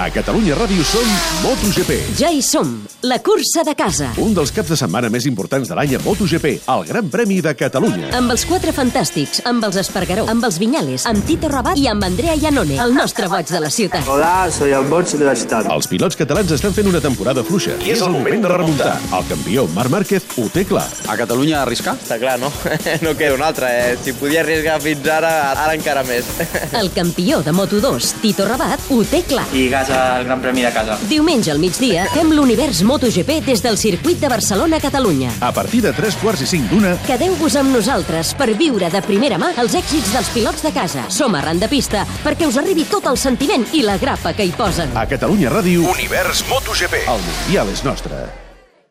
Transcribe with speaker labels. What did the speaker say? Speaker 1: A Catalunya Ràdio som MotoGP.
Speaker 2: Ja hi som, la cursa de casa.
Speaker 1: Un dels caps de setmana més importants de l'any a MotoGP, el Gran Premi de Catalunya.
Speaker 2: Amb els quatre fantàstics, amb els Espargaró, amb els Vinyales, amb Tito Rabat i amb Andrea Iannone, el nostre boig de la ciutat.
Speaker 3: Hola, soy el boig de la ciutat.
Speaker 1: Els pilots catalans estan fent una temporada fluixa i és el moment de remuntar. El campió Marc Márquez ho té clar.
Speaker 4: A Catalunya a arriscar?
Speaker 5: Està Eh, clar, no? No queda una altra, eh? Si podia arriesgar fins ara, ara encara més.
Speaker 2: El campió de Moto2, Tito Rabat, ho té clar.
Speaker 6: I gas al Gran Premi de casa.
Speaker 2: Diumenge al migdia fem l'univers MotoGP des del circuit de Barcelona-Catalunya.
Speaker 1: A partir de tres quarts i cinc d'una,
Speaker 2: Quedeu-vos amb nosaltres per viure de primera mà els èxits dels pilots de casa. Som arran de pista perquè us arribi tot el sentiment i la grapa que hi posen.
Speaker 1: a Catalunya Ràdio,
Speaker 7: Univers MotoGP.
Speaker 1: el Mundial és nostre.